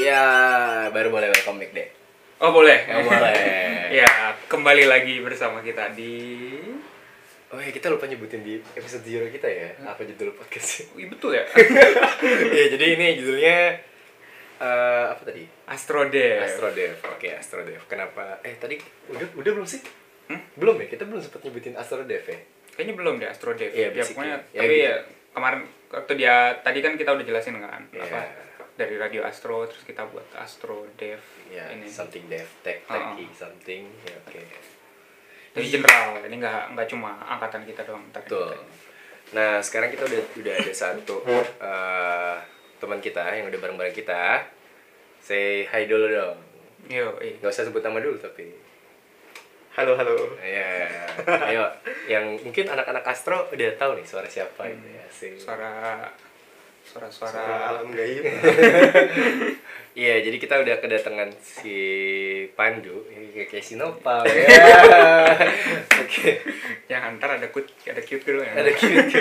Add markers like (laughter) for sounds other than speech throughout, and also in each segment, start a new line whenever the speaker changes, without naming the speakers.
Iya,
Oh boleh.
Nggak boleh.
(laughs)
Iya.
ya kembali lagi bersama kita di.
Oh ya kita lupa nyebutin di episode zero kita ya. Apa judul podcastnya?
Wih betul
(laughs)
ya.
Iya jadi ini judulnya eh apa tadi?
Astrodev.
Astrodev. Oke Astrodev. Kenapa? Eh tadi udah udah belum sih?
Hmm?
Belum ya kita belum sempat nyebutin Astrodev ya.
Kayaknya belum deh Astrodev.
Iya,
ya
basically.
pokoknya.
Ya,
tapi
gitu.
ya kemarin waktu dia tadi kan kita udah jelasin kan
Iya.
apa dari radio Astro terus kita buat Astrodev
Ya
ini.
something dev tech
Ah.
techy something. Ya, Oke.
Jadi general ini nggak nggak cuma angkatan kita doang. ntar
Betul.
kita-
Nah, sekarang kita udah udah ada satu eh, teman kita yang udah bareng-bareng kita. Say hi dulu dong.
Yo, iya.
Gak usah sebut nama dulu tapi.
Halo, halo.
Iya. Ayo, yang mungkin anak-anak Astro udah tahu nih suara siapa gitu ya. Asik.
Suara suara-suara
Suara alam gaib.
Iya, jadi kita udah kedatangan si Pandu, Ini kayak kayak si (laughs) Nopal ya. Oke,
yang antar Ya, ada cute ada cute gitu ya.
ada cute.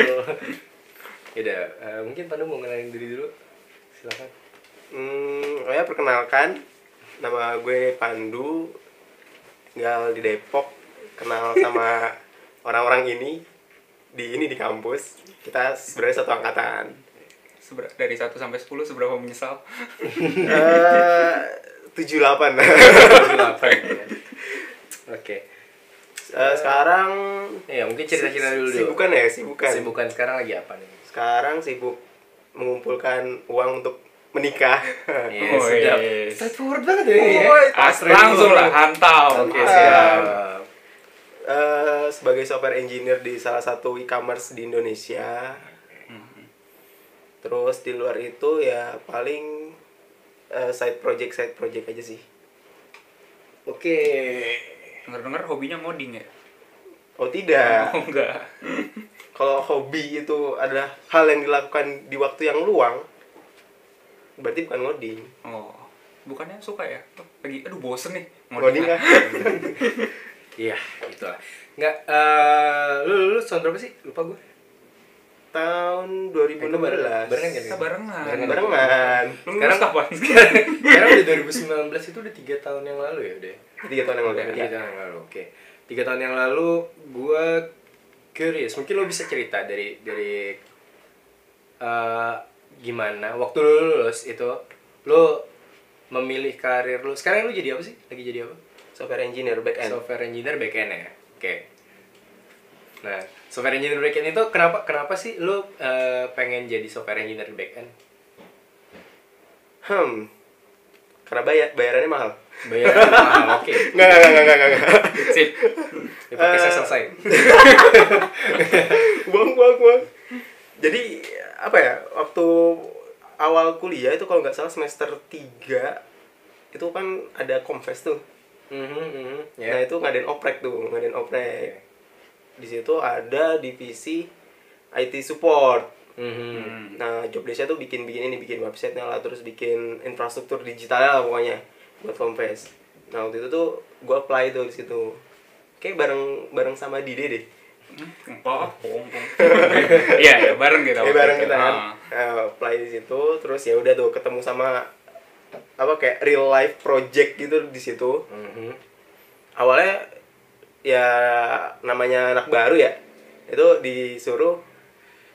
Ya udah, eh, mungkin Pandu mau kenalin diri dulu. Silakan.
Hmm, oh ya perkenalkan, nama gue Pandu, tinggal di Depok, kenal
(laughs)
sama orang-orang ini di ini di kampus. Kita sebenarnya satu
(laughs)
angkatan.
Seber- dari 1 sampai 10 seberapa menyesal?
Eh, 78.
(laughs) Silakan. ya. Oke.
Eh, sekarang
Ya, mungkin cerita-cerita dulu. dulu.
Sibukan ya, sibukan.
Sibukan sekarang lagi apa nih?
Sekarang sibuk mengumpulkan uang untuk menikah.
(laughs) Iya,
Oh,
sedap.
yes.
Straightforward banget ya. ini ya.
Oh,
As-
Astrid
langsung
dulu.
lah hantam.
Oke, siap.
eh sebagai software engineer di salah satu e-commerce di Indonesia. Terus di luar itu ya paling eh, side project side project aja sih.
Oke.
Dengar-dengar hobinya ngoding ya?
Oh tidak.
Oh enggak.
Kalau hobi itu adalah hal yang dilakukan di waktu yang luang, berarti bukan ngoding.
Oh. Bukannya suka ya? Lagi aduh bosen nih
Ngoding
lah.
kan?
Iya, gitu lah. Nggak, eh, lu, lu, lu tahun berapa sih? Lupa gue. Eh,
Tahun
gua bareng-
2016.
barengan kan?
Kita barengan.
Barengan.
Barengan.
Lu
Sekarang-
lulus kapan? (laughs)
Sekarang udah 2019 itu udah 3 tahun yang lalu ya udah.
Tiga tahun yang lalu. Iya.
Udah tiga tahun yang lalu, oke. Tiga tahun yang lalu gue curious. Mungkin lo bisa cerita dari dari eh, gimana waktu lo lulus itu lo memilih karir lo. Sekarang lo jadi apa sih? Lagi jadi apa?
Software engineer back end.
Software engineer backend ya. Oke. Nah, software engineer backend itu kenapa kenapa sih lo eh, pengen jadi software engineer backend?
Hmm. Karena bayar bayarannya mahal.
Bayar (laughs) mahal, oke.
Enggak, enggak, enggak, enggak, enggak.
Sip.
Ya, podcastnya
Eh,
selesai.
buang buang buang jadi apa ya waktu awal kuliah itu kalau nggak salah semester 3 itu kan ada konfes tuh
Mhm, mhm, ya.
nah itu ngadain oprek tuh ngadain oprek di situ ada divisi IT support
Mhm.
Hmm.
nah job desa tuh bikin bikin ini bikin websitenya lah terus bikin infrastruktur digitalnya lah pokoknya buat konfes nah waktu itu tuh gue apply tuh di situ kayak bareng bareng sama Dide deh
Empok, empok. (laughs) Iya, ya, bareng kita.
Eh
waktu
bareng
itu.
kita kan.
Ah.
Eh, apply di situ terus ya udah tuh ketemu sama apa kayak real life project gitu di situ.
Mhm.
Awalnya ya namanya anak baru ya. Itu disuruh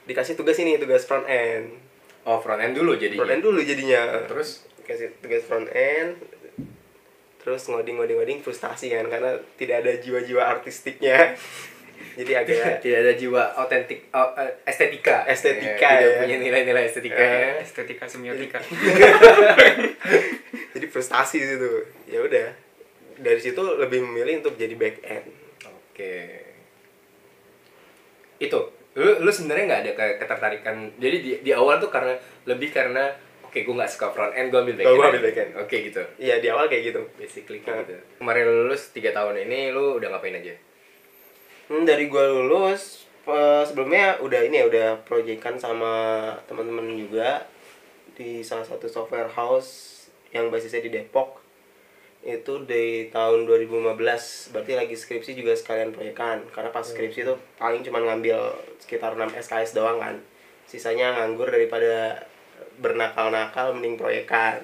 dikasih tugas ini, tugas front end.
Oh front end dulu
Iya.
jadi.
Front end dulu jadinya.
Terus?
kasih tugas front end terus ngoding ngoding ngoding frustasi kan karena tidak ada jiwa-jiwa artistiknya. (laughs) Jadi agak
Tidak ada jiwa autentik au- eh, estetika.
Estetika,
Tidak
ya.
punya nilai-nilai estetika. ya.
Eh, Estetika semiotika.
jadi prestasi di situ ya udah dari situ lebih memilih untuk jadi back end
Oke. Itu lu lu sebenarnya nggak ada ke- ketertarikan. Jadi di, di awal tuh karena lebih karena oke gue nggak suka front end gue ambil back
Oh, Gua
end.
ambil back end.
Oke gitu.
iya di awal kayak gitu
Basically kayak gitu. Kemarin lu lulus 3 tahun ini lu udah ngapain aja?
hmm, dari gua lulus eh, sebelumnya udah ini ya udah proyekan sama teman-teman juga di salah satu software house yang basisnya di Depok itu di tahun 2015 berarti lagi skripsi juga sekalian proyekan karena pas
Hmm.
skripsi itu paling cuma ngambil sekitar 6 SKS doang kan sisanya nganggur daripada bernakal-nakal mending proyekan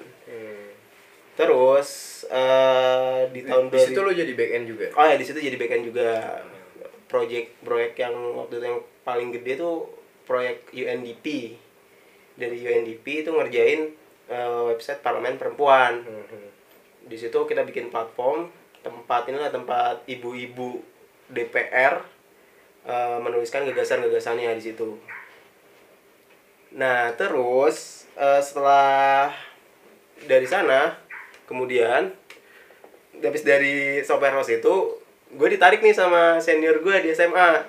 Terus eh, di
Hmm.
tahun
di situ
2000
lo jadi back end juga
Oh ya di situ jadi backend juga. Project proyek yang waktu itu yang paling gede tuh proyek UNDP. Dari UNDP itu ngerjain eh, website parlemen perempuan. Di situ kita bikin platform tempat inilah tempat ibu-ibu DPR eh, menuliskan gagasan-gagasannya di situ. Nah, terus eh, setelah dari sana kemudian habis dari software house itu gue ditarik nih sama senior gue di SMA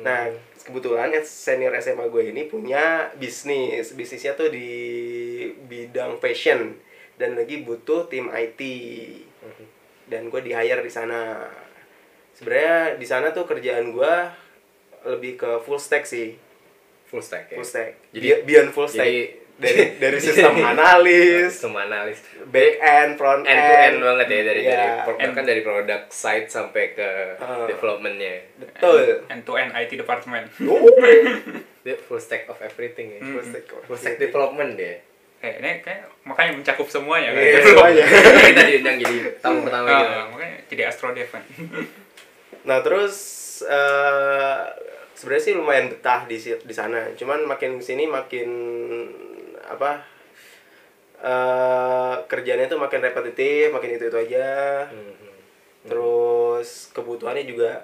nah
Hmm.
kebetulan ya senior SMA gue ini punya bisnis bisnisnya tuh di bidang fashion dan lagi butuh tim IT
Hmm.
dan gue di hire di sana sebenarnya di sana tuh kerjaan gue lebih ke full stack sih
full stack ya
full stack
Jadi-
Be- beyond full stack
jadi-
dari
(laughs)
dari sistem
Nah,
analis
sistem analis
back end front
end
end
to end banget ya dari dari
Iya.
pro- kan dari produk side sampai ke
Ah.
developmentnya
betul
End to end IT department.
Dia full stack of everything ya
Hmm.
Full stack,
full stack development ya. dia
Eh, ini kayak makanya mencakup semuanya kan.
Iya,
Belum.
semuanya.
kita diundang jadi tamu pertama
Ah,
gitu
makanya jadi astro dev kan.
Nah terus eh sebenarnya sih lumayan betah di si- di sana. Cuman makin kesini makin apa eh kerjanya tuh makin repetitif, makin itu itu aja. Terus kebutuhannya juga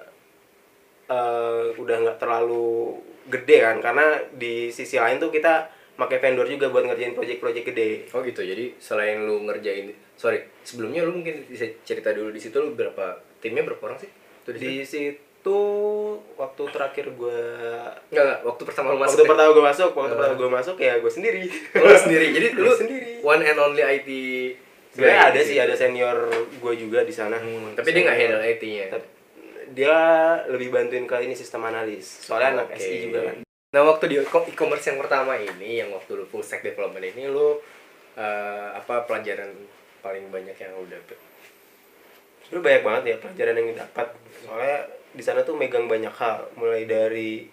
eh udah nggak terlalu gede kan, karena di sisi lain tuh kita pakai vendor juga buat ngerjain project-project gede.
Oh gitu, jadi selain lu ngerjain, sorry, sebelumnya lu mungkin bisa cerita dulu di situ lu berapa timnya berapa orang sih? Tuh di,
Di situ waktu terakhir gue
Enggak, enggak, waktu pertama lu masuk.
waktu
ya?
pertama gue masuk waktu
Eh.
pertama gue masuk ya gue
(laughs)
sendiri
lu sendiri, jadi
Gua
lu
sendiri.
one and only IT.
sebenarnya
guy
ada
di
sih
situ.
ada senior gue juga di sana
Iya, Hmm, tapi dia nggak handle IT-nya.
Tep- dia lebih bantuin ke ini sistem analis soalnya anak
Oke.
SI juga kan
Nah, waktu di e- e-commerce yang pertama ini, yang waktu lu full stack development ini lu eh, apa pelajaran paling banyak yang lu dapet?
sebenarnya banyak banget ya pelajaran yang didapat soalnya di sana tuh megang banyak hal mulai dari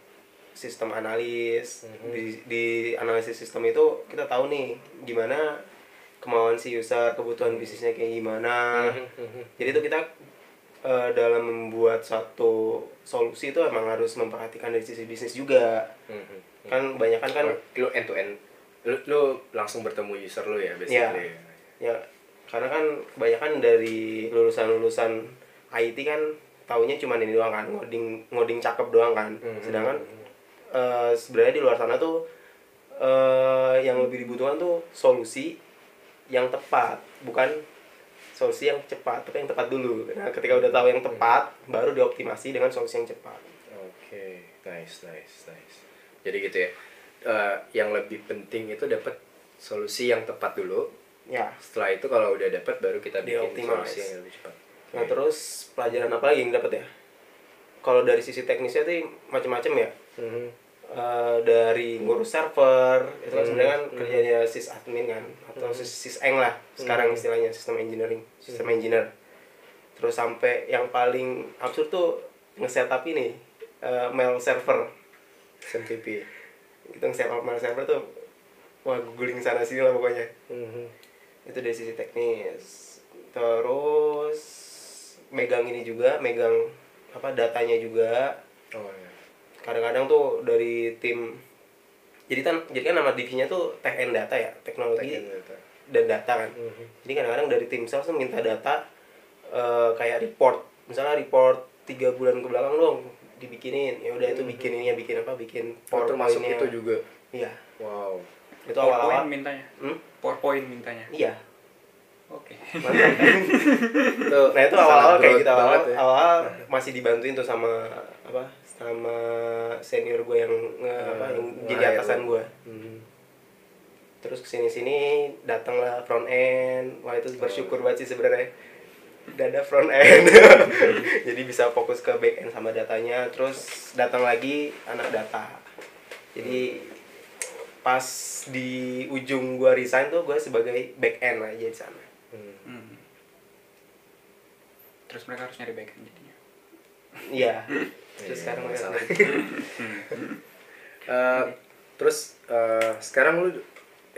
sistem analis
Hmm.
di, di analisis sistem itu kita tahu nih gimana kemauan si user kebutuhan bisnisnya kayak gimana
Hmm. Mhm,
jadi itu kita eh, dalam membuat satu solusi itu emang harus memperhatikan dari sisi bisnis juga
mhm.
kan banyak kan
Kan
kan
lu end to end lu, lu langsung bertemu user lu ya basically.
ya karena kan kebanyakan dari lulusan-lulusan IT kan taunya cuma ini doang kan ngoding ngoding cakep doang kan
Mhm.
sedangkan eh, sebenarnya di luar sana tuh eh, yang lebih dibutuhkan tuh solusi yang tepat bukan solusi yang cepat tapi yang tepat dulu nah ketika udah tahu yang tepat baru dioptimasi dengan solusi yang cepat
Oke, nice, nice, nice. Jadi gitu ya. Eh, yang lebih penting itu dapat solusi yang tepat dulu.
ya
Setelah itu kalau udah dapat baru kita bikin
Di-optimize.
solusi yang lebih cepat.
Nah terus pelajaran apa lagi yang dapat ya? Kalau dari sisi teknisnya tuh macam-macam ya.
Mhm.
Eh, dari ngurus server itu
Hmm,
kan sebenarnya kan
hmm.
kerjanya sis admin kan atau sis syseng lah
Hmm.
sekarang istilahnya sistem engineering, sistem engineer. Terus sampai yang paling absurd tuh nge-setup ini eh, mail server.
SMTP.
Itu nge-setup mail server tuh wah googling sana sini lah pokoknya.
Mhm.
Itu dari sisi teknis. Terus megang ini juga, megang apa datanya juga
Oh ya.
kadang-kadang tuh dari tim jadi kan jadi kan nama divisinya tuh tech and data ya teknologi
Tag and data.
dan data kan
Mhm.
jadi kadang-kadang dari tim sales tuh minta data eh, kayak report misalnya report tiga bulan ke belakang dong dibikinin ya udah itu bikin ininya bikin apa bikin
Oh, Hmm. termasuk
PowerPoint-nya.
itu juga.
iya
Wow.
itu
PowerPoint
awal-awal
mintanya.
Hmm?
PowerPoint mintanya.
iya
Oke.
(laughs)
nah itu awal-awal
sangat
kayak
growth
gitu awal,
banget ya.
awal masih dibantuin tuh sama apa sama senior gue yang nge-
Iya,
apa yang jadi
Nge-hire
atasan
lu.
gue
Mhm.
terus kesini sini datanglah front end wah itu bersyukur banget sih sebenarnya udah ada front end (laughs) jadi bisa fokus ke back end sama datanya terus datang lagi anak data jadi pas di ujung gua resign tuh gua sebagai back end aja di sana
Mhm.
Hmm. Terus mereka harus nyari backend jadinya.
(laughs)
iya terus
Iya,
sekarang
nggak
udah-
salah. Eh, terus eh, sekarang lu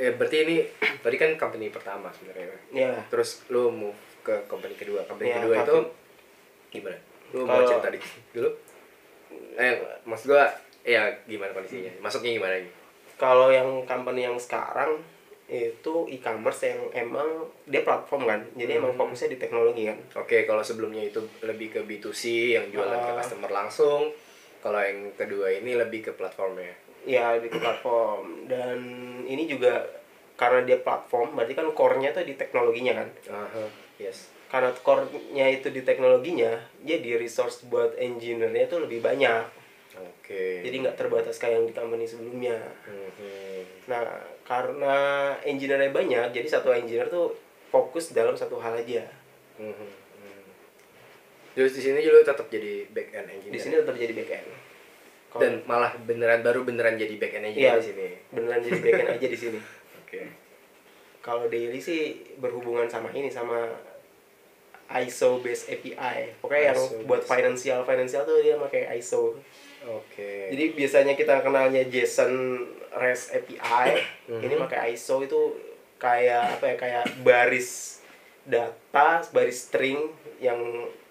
eh berarti ini tadi kan company pertama sebenarnya.
(laughs) Iya.
Terus lu move ke company kedua. Company
Iya,
kedua itu
company.
gimana? Lu mau
Kalau-
cerita dikit dulu? Eh, maksud gua ya gimana kondisinya? Masuknya gimana ini?
Kalau yang company yang sekarang itu e-commerce yang emang dia platform kan. Jadi
Hmm.
emang fokusnya di teknologi kan.
Oke, kalau sebelumnya itu lebih ke B2C yang jualan ke
Ah.
customer langsung. Kalau yang kedua ini lebih ke platformnya.
Ya lebih ke platform dan ini juga karena dia platform berarti kan core-nya tuh di teknologinya kan.
Aha, yes.
Karena core-nya itu di teknologinya, jadi resource buat engineer-nya tuh lebih banyak.
Oke.
Jadi nggak terbatas kayak yang di company sebelumnya.
Mhm.
Nah, karena engineer-nya banyak, jadi satu engineer tuh fokus dalam satu hal aja.
Mhm. Mhm. Terus di sini juga lu tetap jadi back end engineer.
Di sini tetap jadi back end. Kalau-
Iya. dan malah beneran baru beneran jadi back end engineer
Iya.
di sini.
beneran jadi back end aja di sini.
Oke.
(laughs) Kalau daily sih berhubungan sama ini sama ISO based API. Pokoknya yang
ISO
buat
based.
financial financial tuh dia pakai ISO.
Oke.
Jadi biasanya kita kenalnya JSON REST API, ini pakai ISO itu kayak apa ya kayak baris data, baris string yang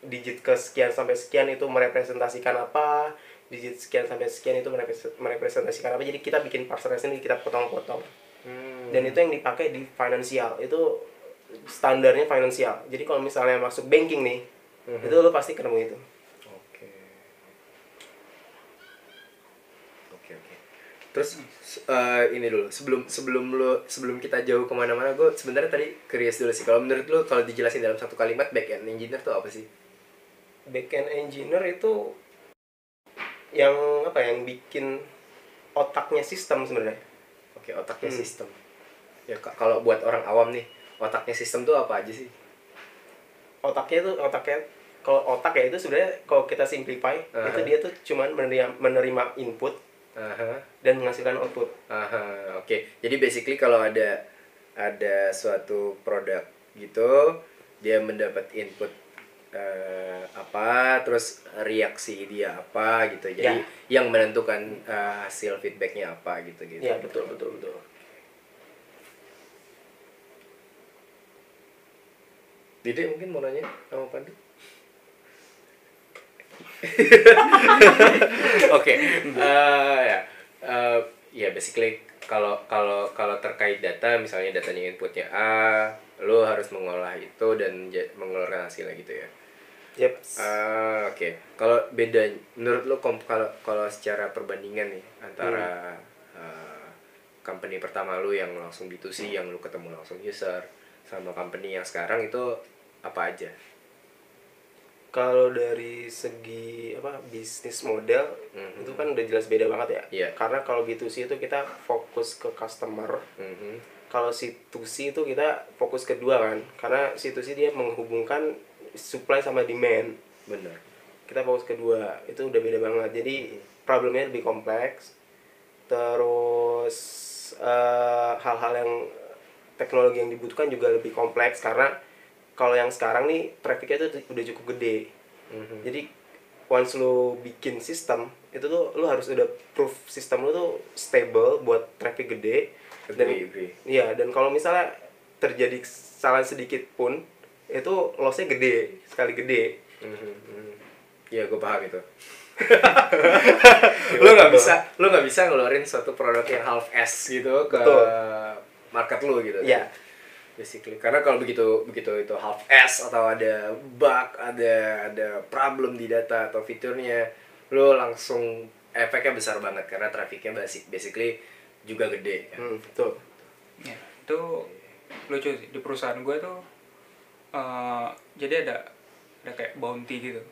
digit ke sekian sampai sekian itu merepresentasikan apa, digit sekian sampai sekian itu merepres- merepresentasikan apa. Jadi kita bikin parsernya sendiri kita potong-potong.
Hmm.
Dan itu yang dipakai di finansial. Itu standarnya finansial. Jadi kalau misalnya masuk banking nih,
Mhm.
itu lo pasti ketemu itu.
Oke. Oke oke. Terus s- eh, ini dulu sebelum sebelum lu sebelum kita jauh kemana-mana gue sebenarnya tadi curious dulu sih kalau menurut lu kalau dijelasin dalam satu kalimat back end engineer tuh apa sih?
backend engineer itu yang apa yang bikin otaknya sistem sebenarnya
Oke otaknya
Hmm.
sistem. Ya ka- kalau buat orang awam nih otaknya sistem tuh apa aja sih?
otaknya itu otaknya kalau otak ya itu sebenarnya kalau kita simplify
Aha.
itu dia tuh cuman menerima menerima input
Aha.
dan menghasilkan output
Aha, oke. Jadi basically kalau ada ada suatu produk gitu, dia mendapat input eh, apa, terus reaksi dia apa gitu. Jadi
Ya.
yang menentukan eh, hasil feedbacknya apa gitu gitu.
ya betul betul betul
Dede mungkin mau nanya sama Pandu. (laughs) Oke, eh, ya, Eh, ya basically kalau kalau kalau terkait data, misalnya datanya inputnya A, lo harus mengolah itu dan ja- mengeluarkan hasilnya gitu ya.
yep
Ah, oke. Kalau beda menurut lo kom- kalau kalau secara perbandingan nih antara eh, company pertama lu yang langsung B2C yang lu ketemu langsung user sama company yang sekarang itu apa aja?
kalau dari segi apa bisnis model
Mhm.
itu kan udah jelas beda banget ya
Iya.
karena kalau B2C itu kita fokus ke customer
Mhm.
kalau situsi itu kita fokus kedua kan karena situsi dia menghubungkan supply sama demand
Bener.
kita fokus kedua itu udah beda banget jadi problemnya lebih kompleks terus eh, hal-hal yang teknologi yang dibutuhkan juga lebih kompleks karena kalau yang sekarang nih trafficnya itu udah cukup gede
Mhm.
jadi once lo bikin sistem itu tuh lo harus udah proof sistem lo tuh stable buat traffic gede
Agree, agree.
Iya, dan kalau misalnya terjadi kesalahan sedikit pun, itu lossnya gede, sekali gede.
Mhm, mhm. Iya, gue paham
(laughs)
itu. lo nggak bisa, lo nggak bisa ngeluarin suatu produk yang half s gitu ke
Betul.
market lo gitu.
Iya.
Basically, karena kalau begitu begitu itu half s atau ada bug, ada ada problem di data atau fiturnya, lo langsung efeknya besar banget karena trafiknya basic basically juga gede. kan.
Hmm, tuh.
Ya, itu lucu sih. di perusahaan gue tuh eh, jadi ada ada kayak bounty gitu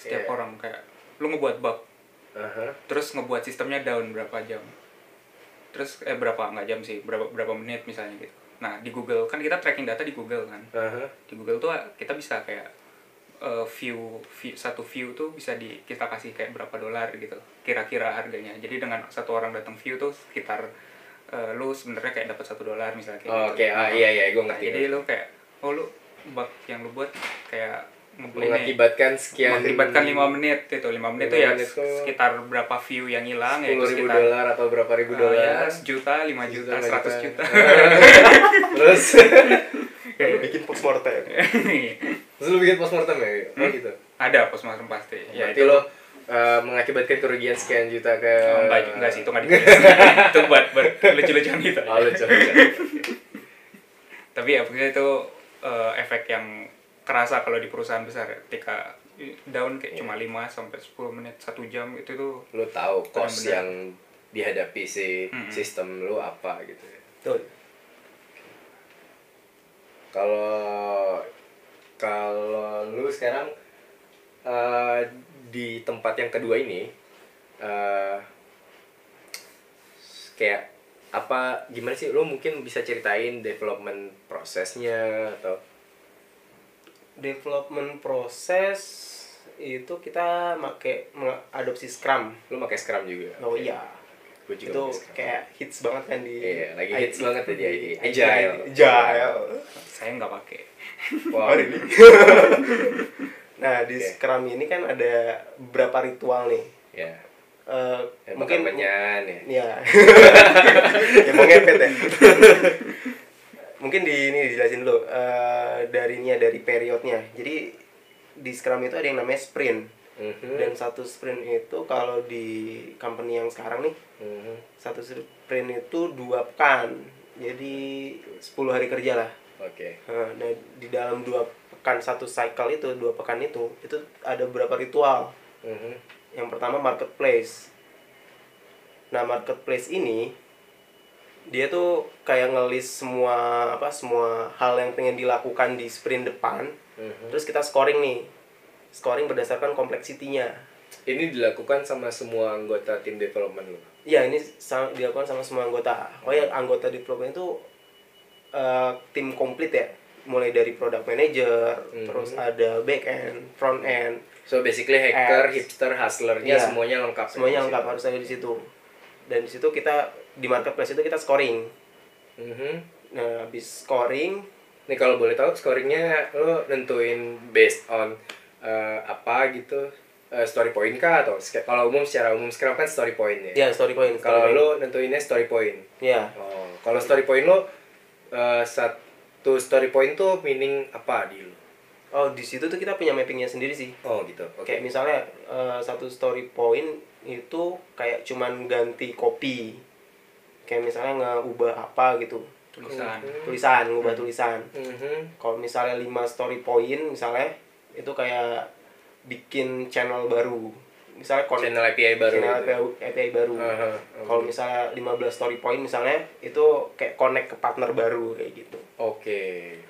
setiap
Iya.
orang kayak lu ngebuat bug
Aha.
terus ngebuat sistemnya down berapa jam terus eh berapa nggak jam sih berapa berapa menit misalnya gitu nah di Google kan kita tracking data di Google kan
Aha.
di Google tuh kita bisa kayak eh, view, view satu view tuh bisa di kita kasih kayak berapa dolar gitu kira-kira harganya jadi dengan satu orang datang view tuh sekitar eh, lu sebenarnya kayak dapat satu dolar misalnya kayak
Oh,
gitu.
Oke, ah, iya iya, gue
Nah,
ngerti.
jadi lu kayak oh lu bug yang lu buat kayak ngebeli
mengakibatkan sekian
mengakibatkan 5 menit itu 5 menit itu
Lima
ya
menit tuh
sekitar berapa view yang hilang ya itu
10.000
sekitar
dolar atau berapa ribu
eh,
dolar
ya, sejuta, lima juta,
Sejuta,
seratus
lima
juta. (laughs)
terus
Lalu bikin postmortem
terus lu bikin postmortem ya oh gitu
Ada postmortem pasti. Hmm? Ya
berarti
itu
lo eh, mengakibatkan kerugian sekian juta ke
Oh, enggak,
Eh,
enggak sih, itu enggak ditulis.
(laughs)
itu buat, buat lucu-lucuan gitu.
oh, lucu,
(laughs)
lucu.
Tapi ya pokoknya itu eh, efek yang kerasa kalau di perusahaan besar ya. ketika down
Iya.
kayak cuma 5 sampai 10 menit, 1 jam itu Hmm, tuh
lu tahu cost
Benar-benar.
yang dihadapi si
Mm-mm.
sistem lu apa gitu ya.
tuh
Kalau kalau lu sekarang eh, di tempat yang kedua ini eh, kayak apa gimana sih lu mungkin bisa ceritain development prosesnya atau
development proses itu kita make mengadopsi Scrum
lu pakai Scrum juga?
oh iya
Gua juga
itu
pakai Scrum.
kayak hits banget kan di
Iya, lagi
IT.
hits banget ya di IT. Agile.
Agile Agile
saya nggak pakai.
Wow.
(laughs) nah di
Oke.
Scrum ini kan ada beberapa ritual nih
ya.
Eh,
Dan
mungkin
penyan ya. (laughs)
Iya. ya mau ngepet ya. (laughs) Mungkin di ini dijelasin dulu eh dari ini ya, dari periodnya. Jadi di Scrum itu ada yang namanya sprint.
Mhm.
Dan satu sprint itu kalau di company yang sekarang nih,
Mhm.
satu sprint itu dua pekan. Jadi 10 hari kerja lah.
Oke.
Nah, nah, di dalam dua pekan satu cycle itu, dua pekan itu, itu ada beberapa ritual.
Mhm.
Yang pertama marketplace. Nah, marketplace ini dia tuh kayak ngelis semua apa semua hal yang pengen dilakukan di sprint depan.
Mhm.
Terus kita scoring nih. Scoring berdasarkan kompleksitinya.
Ini dilakukan sama semua anggota tim development lo.
Ya, ini sa- dilakukan sama semua anggota. Oh ya, anggota development itu eh, tim komplit ya. Mulai dari product manager,
Mhm.
terus ada back end, front end,
So basically hacker,
Apps.
hipster, hustlernya
Iya.
semuanya lengkap.
semuanya lengkap
harus.
harus ada di situ. Dan di situ kita di marketplace itu kita scoring. Nah, habis scoring,
Mm-hmm. Nih kalau boleh tahu scoringnya lo nentuin based on eh, apa gitu Eh, story point kah atau ske- kalau umum secara umum sekarang kan story point ya.
ya story point.
Kalau
story point.
lo nentuinnya story point.
ya
Oh, kalau story point lo eh, satu story point tuh meaning apa di lo?
oh di situ tuh kita punya mappingnya sendiri sih.
Oh gitu.
Kayak misalnya eh, satu story point itu kayak cuman ganti kopi. Kayak misalnya ngeubah apa gitu.
Tulisan.
Tulisan, ngubah tulisan.
Mhm.
Kalau misalnya 5 story point misalnya itu kayak bikin channel baru. Misalnya kon-
Channel API baru.
channel
gitu. Uh-huh.
API, API baru.
Aha,
Kalau misalnya 15 story point misalnya itu kayak connect ke partner baru kayak gitu.
Oke.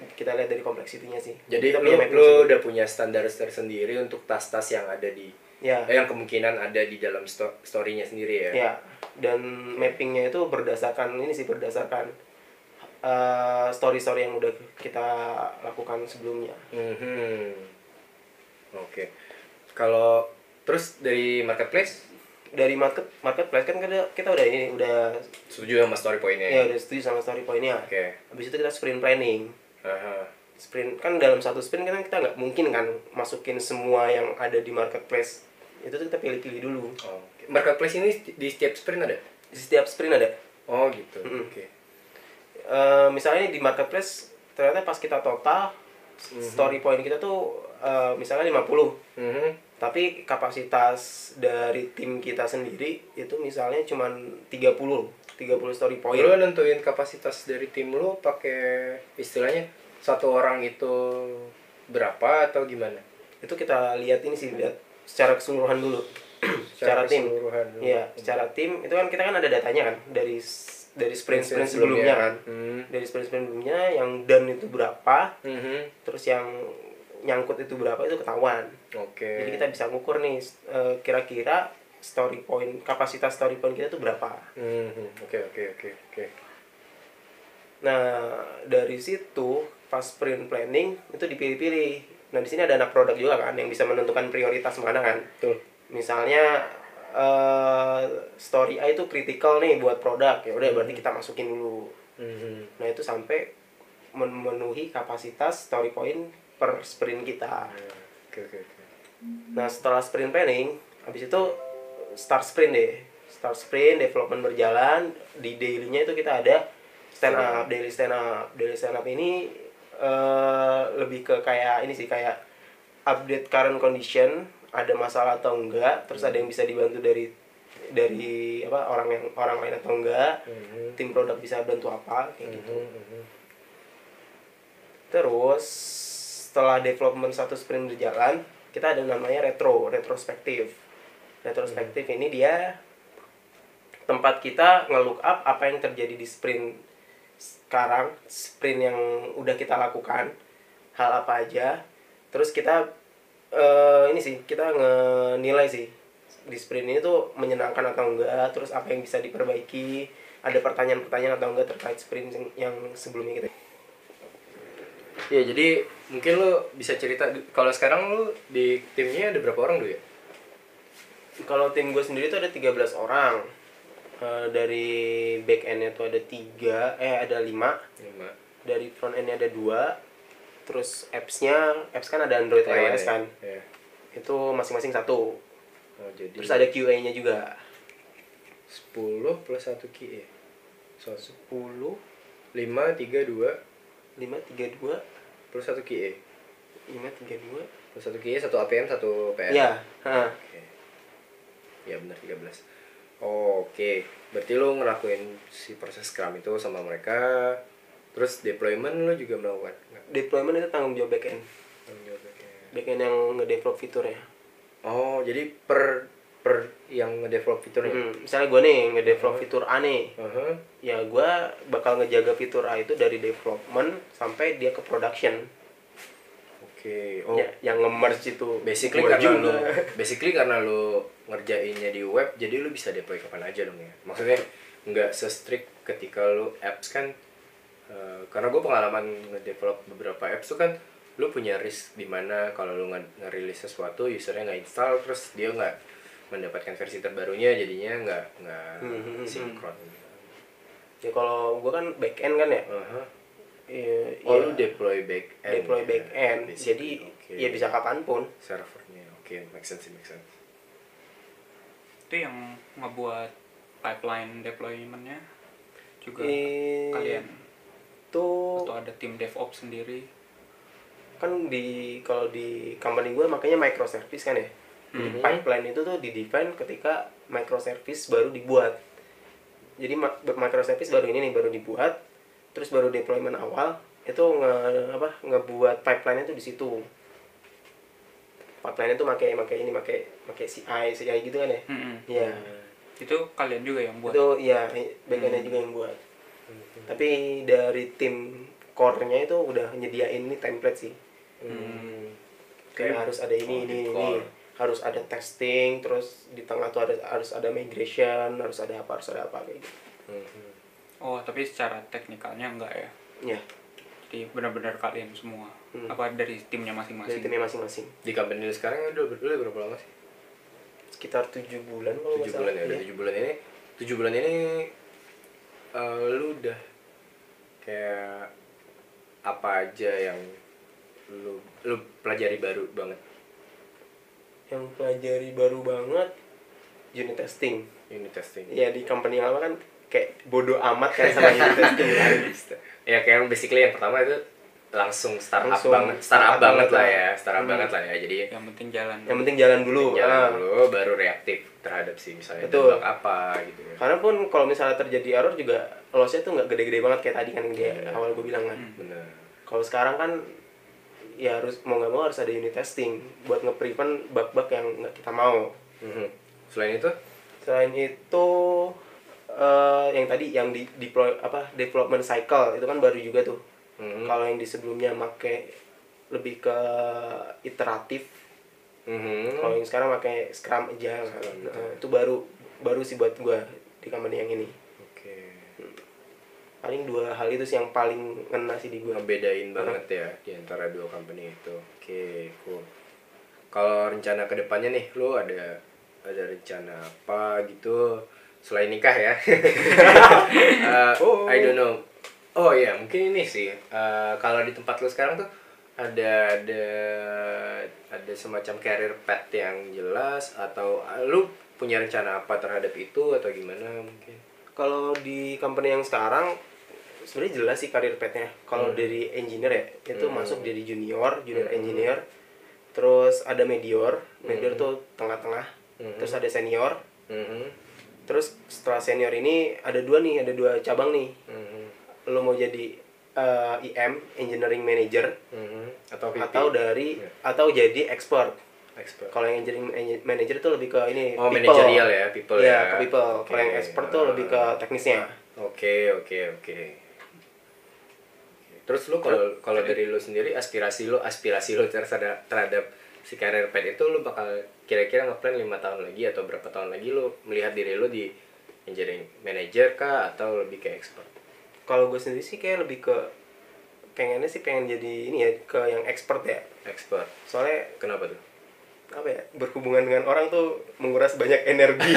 oke.
Kita lihat dari kompleksitinya sih.
Jadi
Kita
lu,
punya mapping
lu
sendiri.
udah punya standar tersendiri untuk tas-tas yang ada di
ya.
eh, yang kemungkinan ada di dalam sto- story-nya sendiri ya.
Ya, dan mappingnya itu berdasarkan ini sih berdasarkan eh, story-story yang udah kita lakukan sebelumnya.
Mhm. Oke. Kalau terus dari marketplace
Dari market marketplace kan kita, kita udah ini udah
setuju sama story
ya
point-nya.
udah setuju sama story pointnya.
Oke.
Habis itu kita sprint planning.
Aha.
Sprint kan dalam satu sprint kan kita nggak mungkin kan masukin semua yang ada di marketplace. Itu tuh kita pilih-pilih dulu.
Oke. Marketplace ini sti- di setiap sprint ada?
Di setiap sprint ada.
Oh, gitu.
Mhm.
Oke.
Eh, misalnya di marketplace ternyata pas kita total story point kita tuh eh, misalnya 50
Mhm.
tapi kapasitas dari tim kita sendiri itu misalnya cuman 30 30 story point
Lo nentuin kapasitas dari tim lo pakai istilahnya satu orang itu berapa atau gimana?
itu kita lihat ini sih lihat secara keseluruhan dulu (clears throat) secara, tim
keseluruhan dulu.
Iya, secara tim itu kan kita kan ada datanya kan dari s- dari sprint sprint sebelumnya kan
Hmm.
dari sprint sprint sebelumnya yang done itu berapa
Mhm.
terus yang nyangkut itu berapa itu ketahuan
Oke.
jadi kita bisa ngukur nih s- eh, kira-kira story point kapasitas story point kita tuh berapa
Mhm. Oke oke oke oke.
Nah, dari situ pas sprint planning itu dipilih-pilih. Nah, di sini ada anak produk juga kan yang bisa menentukan prioritas mana kan.
Betul.
Misalnya eh story A itu critical nih buat produk. Ya udah berarti kita masukin dulu.
Mhm.
Nah, itu sampai memenuhi kapasitas story point per sprint kita.
Oke oke oke.
Nah setelah sprint planning, habis itu start sprint deh. Start sprint, development berjalan, di dailynya itu kita ada stand up, daily stand up. Daily stand up ini eh, lebih ke kayak ini sih, kayak update current condition, ada masalah atau enggak, terus ada yang bisa dibantu dari dari apa orang yang orang lain atau enggak,
Mhm.
tim produk bisa bantu apa kayak gitu.
Mhm, mhm.
Terus setelah development satu sprint berjalan, kita ada namanya retro, retrospektif. Retrospektif ini dia tempat kita nge-look up apa yang terjadi di sprint sekarang, sprint yang udah kita lakukan, hal apa aja. Terus kita eh, ini sih, kita ngenilai sih di sprint ini tuh menyenangkan atau enggak, terus apa yang bisa diperbaiki, ada pertanyaan-pertanyaan atau enggak terkait sprint yang- yang sebelumnya kita
Ya jadi mungkin lo bisa cerita du- kalau sekarang lo di timnya ada berapa orang dulu ya?
kalau tim gue sendiri tuh ada 13 orang Eh, dari back endnya tuh ada tiga eh ada lima
Lima.
dari front endnya ada dua terus appsnya apps kan ada android
Lain
ios
ya?
kan
Ya.
itu masing-masing satu
Oh, jadi
terus ada qa nya juga
10 plus 1 ki ya. 100.
10
5 3 2
5 32
plus 1 ki.
5
Plus E, 1 ki 1 APM 1
32
PM.
ya ha.
Oke. Ya benar 13. Oh, Oke, berarti lo ngelakuin si proses Scrum itu sama mereka. Terus deployment lo juga melakukan. Nggak,
deployment itu tanggung jawab back end
tanggung jawab mereka.
back end yang ngedevelop fiturnya
Oh, jadi per per yang ngedevelop fiturnya. Uh-huh.
Hmm, misalnya gue nih ngedevelop fitur A nih
Aha.
ya gue bakal ngejaga fitur A itu dari development sampai dia ke production
Oke. Oh,
ya, yang nge-merge itu
basically
Gua
karena lo basically karena lo ngerjainnya di web, jadi lo bisa deploy kapan aja dong ya. Maksudnya nggak se-strict ketika lo apps kan eh, karena gue pengalaman ngedevelop beberapa apps tuh kan lo punya risk di mana kalau lo nge- ngerilis sesuatu usernya nggak install terus dia nggak mendapatkan versi terbarunya jadinya nggak nggak
Hmm, hmm, hmm.
sinkron.
(laughs) ya kalau gue kan back end kan ya
Aha.
Iya,
Oh,
iya.
lu deploy back end.
deploy
ya,
back end jadi
basically. Oke.
ya bisa kapanpun
servernya. Oke, make sense sih, make sense.
itu yang ngebuat pipeline deploymentnya juga
Eh,
kalian
itu
atau ada tim DevOps sendiri
kan di kalau di company gue makanya microservice kan ya Jadi
Mhm.
pipeline itu tuh di define ketika microservice baru dibuat jadi ma- microservice baru ini nih baru dibuat terus baru deployment awal itu nge apa ngebuat pipeline itu di situ pipeline itu pakai pakai ini pakai pakai CI CI gitu kan ya
Mm-mm.
Iya.
itu kalian juga yang buat
itu ya bagiannya juga yang buat tapi dari tim core-nya itu udah nyediain ini template sih
Hmm.
kayak harus ada
Oh,
ini ini
di
ini
core.
harus ada testing terus di tengah tuh ada harus ada migration harus ada apa harus ada apa kayak gitu
Mhm.
oh tapi secara teknikalnya enggak ya
ya
jadi benar-benar kalian semua
Hmm.
apa dari timnya
dari
masing-masing
timnya masing-masing
Di company lu sekarang udah, udah berapa lama sih?
sekitar tujuh bulan kalau nggak
Tujuh
salah.
bulan ya, udah
Iya.
tujuh bulan ini Tujuh bulan ini eh, Lu udah Kayak Apa aja yang Lu, lu pelajari baru banget
yang pelajari baru banget unit testing
Ini testing
ya di company yang lama kan kayak bodoh amat kan sama unit testing kan
(laughs) ya kayak basically yang pertama itu langsung startup
Langsung
banget startup
startup
banget
banget
lah
lah.
ya startup
Hmm.
banget lah ya jadi
yang penting jalan
yang penting jalan dulu
jalan
Ah.
dulu baru reaktif terhadap si misalnya
Betul. Kan
debug apa gitu ya
karena pun kalau misalnya terjadi error juga lossnya tuh nggak gede-gede banget kayak tadi kan yang dia
Iya.
awal gue bilang kan
bener
kalau sekarang kan ya harus mau nggak mau harus ada unit testing buat nge-prevent bug-bug yang nggak kita mau
Mhm. selain itu
selain itu eh, yang tadi yang di deploy apa development cycle itu kan baru juga tuh
Mhm.
kalau yang di sebelumnya make lebih ke iteratif
Mhm.
kalau yang sekarang pakai scrum aja
Scrum.
Nah, itu baru baru sih buat gua di company yang ini
Oke.
paling dua hal itu sih yang paling ngena sih di gua
Ngebedain banget ya di antara dua company itu. Oke, cool. Kalau rencana kedepannya nih, lu ada ada rencana apa gitu selain nikah (laughs) ya? Oh iya, Eh, I don't know. Oh ya, mungkin ini sih. Eh, kalau di tempat lu sekarang tuh ada ada ada semacam career path yang jelas atau ah, lu punya rencana apa terhadap itu atau gimana mungkin
Kalau di company yang sekarang sebenarnya jelas sih karir petnya.
Hmm.
Kalau dari engineer ya itu masuk jadi junior, junior engineer. Terus ada medior, medior
Hmm.
tuh tengah-tengah. Terus ada senior.
Mhm.
Terus setelah senior ini ada dua nih, ada dua cabang nih.
Mhm.
Lo mau jadi eh, IM, engineering manager
Mhm. atau VP?
atau dari
Ya.
atau jadi expert.
expert
Kalau yang engineering man- manager tuh lebih ke ini
Oh, managerial ya, people
Iya,
ya.
ke people. Kalau yang
Oke.
expert tuh lebih ke teknisnya.
Oke, oke, oke. Terus lu kalau kalau dari lu sendiri aspirasi lu aspirasi lu terhadap terhadap si karir pet itu lu bakal kira-kira ngeplan lima tahun lagi atau berapa tahun lagi lu melihat diri lu di engineering manager kah atau lebih ke expert?
Kalau gue sendiri sih kayak lebih ke pengennya sih pengen jadi ini ya ke yang expert ya.
Expert.
Soalnya
Kenapa tuh?
apa ya berhubungan dengan orang tuh menguras banyak energi